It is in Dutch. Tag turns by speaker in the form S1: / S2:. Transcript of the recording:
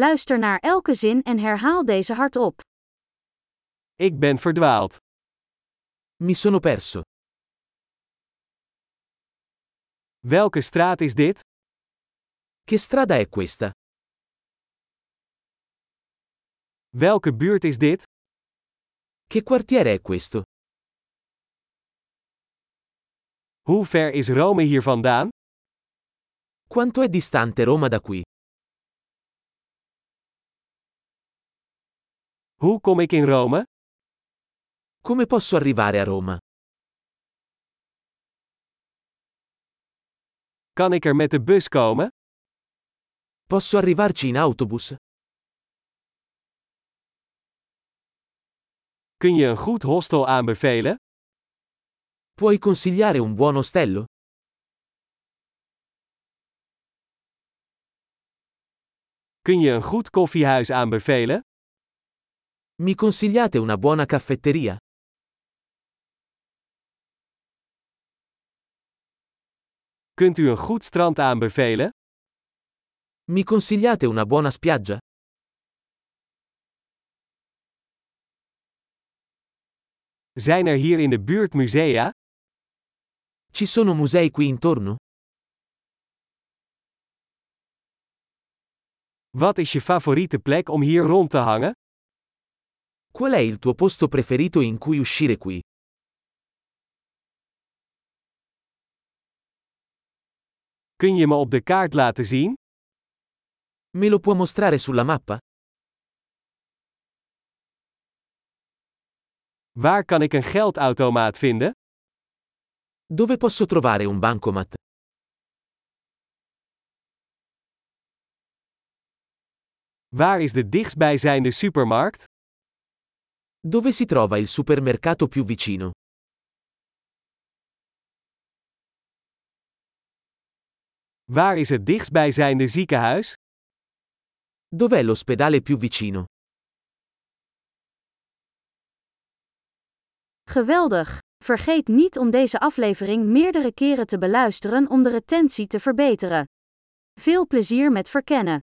S1: Luister naar elke zin en herhaal deze hardop.
S2: Ik ben verdwaald.
S3: Mi sono perso.
S2: Welke straat is dit?
S3: Che strada è questa?
S2: Welke buurt is dit?
S3: Che quartiere è questo?
S2: Hoe ver is Rome hier vandaan?
S3: Quanto è distante Roma da qui?
S2: Hoe kom ik in Rome?
S3: Come posso arrivare a Roma?
S2: Kan ik er met de bus komen?
S3: Posso arrivarci in autobus?
S2: Kun je een goed hostel aanbevelen?
S3: Puoi consigliare un buon ostello?
S2: Kun je een goed koffiehuis aanbevelen?
S3: Mi consigliate una buona caffetteria?
S2: Kunt u een goed strand aanbevelen?
S3: Mi consigliate una buona spiaggia?
S2: Zijn er hier in de buurt musea?
S3: Ci sono musei qui intorno?
S2: Wat is je favoriete plek om hier rond te hangen?
S3: Qual è il tuo posto preferito in cui uscire qui?
S2: Kun je me op de kaart laten zien?
S3: Me lo può mostrare sulla mappa?
S2: Waar kan ik een geldautomaat vinden?
S3: Dove posso trovare un bancomat?
S2: Waar is de dichtstbijzijnde supermarkt?
S3: Dove si trova il supermercato più vicino?
S2: Waar is het dichtstbijzijnde ziekenhuis?
S3: Dov'è l'ospedale più vicino?
S1: Geweldig! Vergeet niet om deze aflevering meerdere keren te beluisteren om de retentie te verbeteren. Veel plezier met verkennen!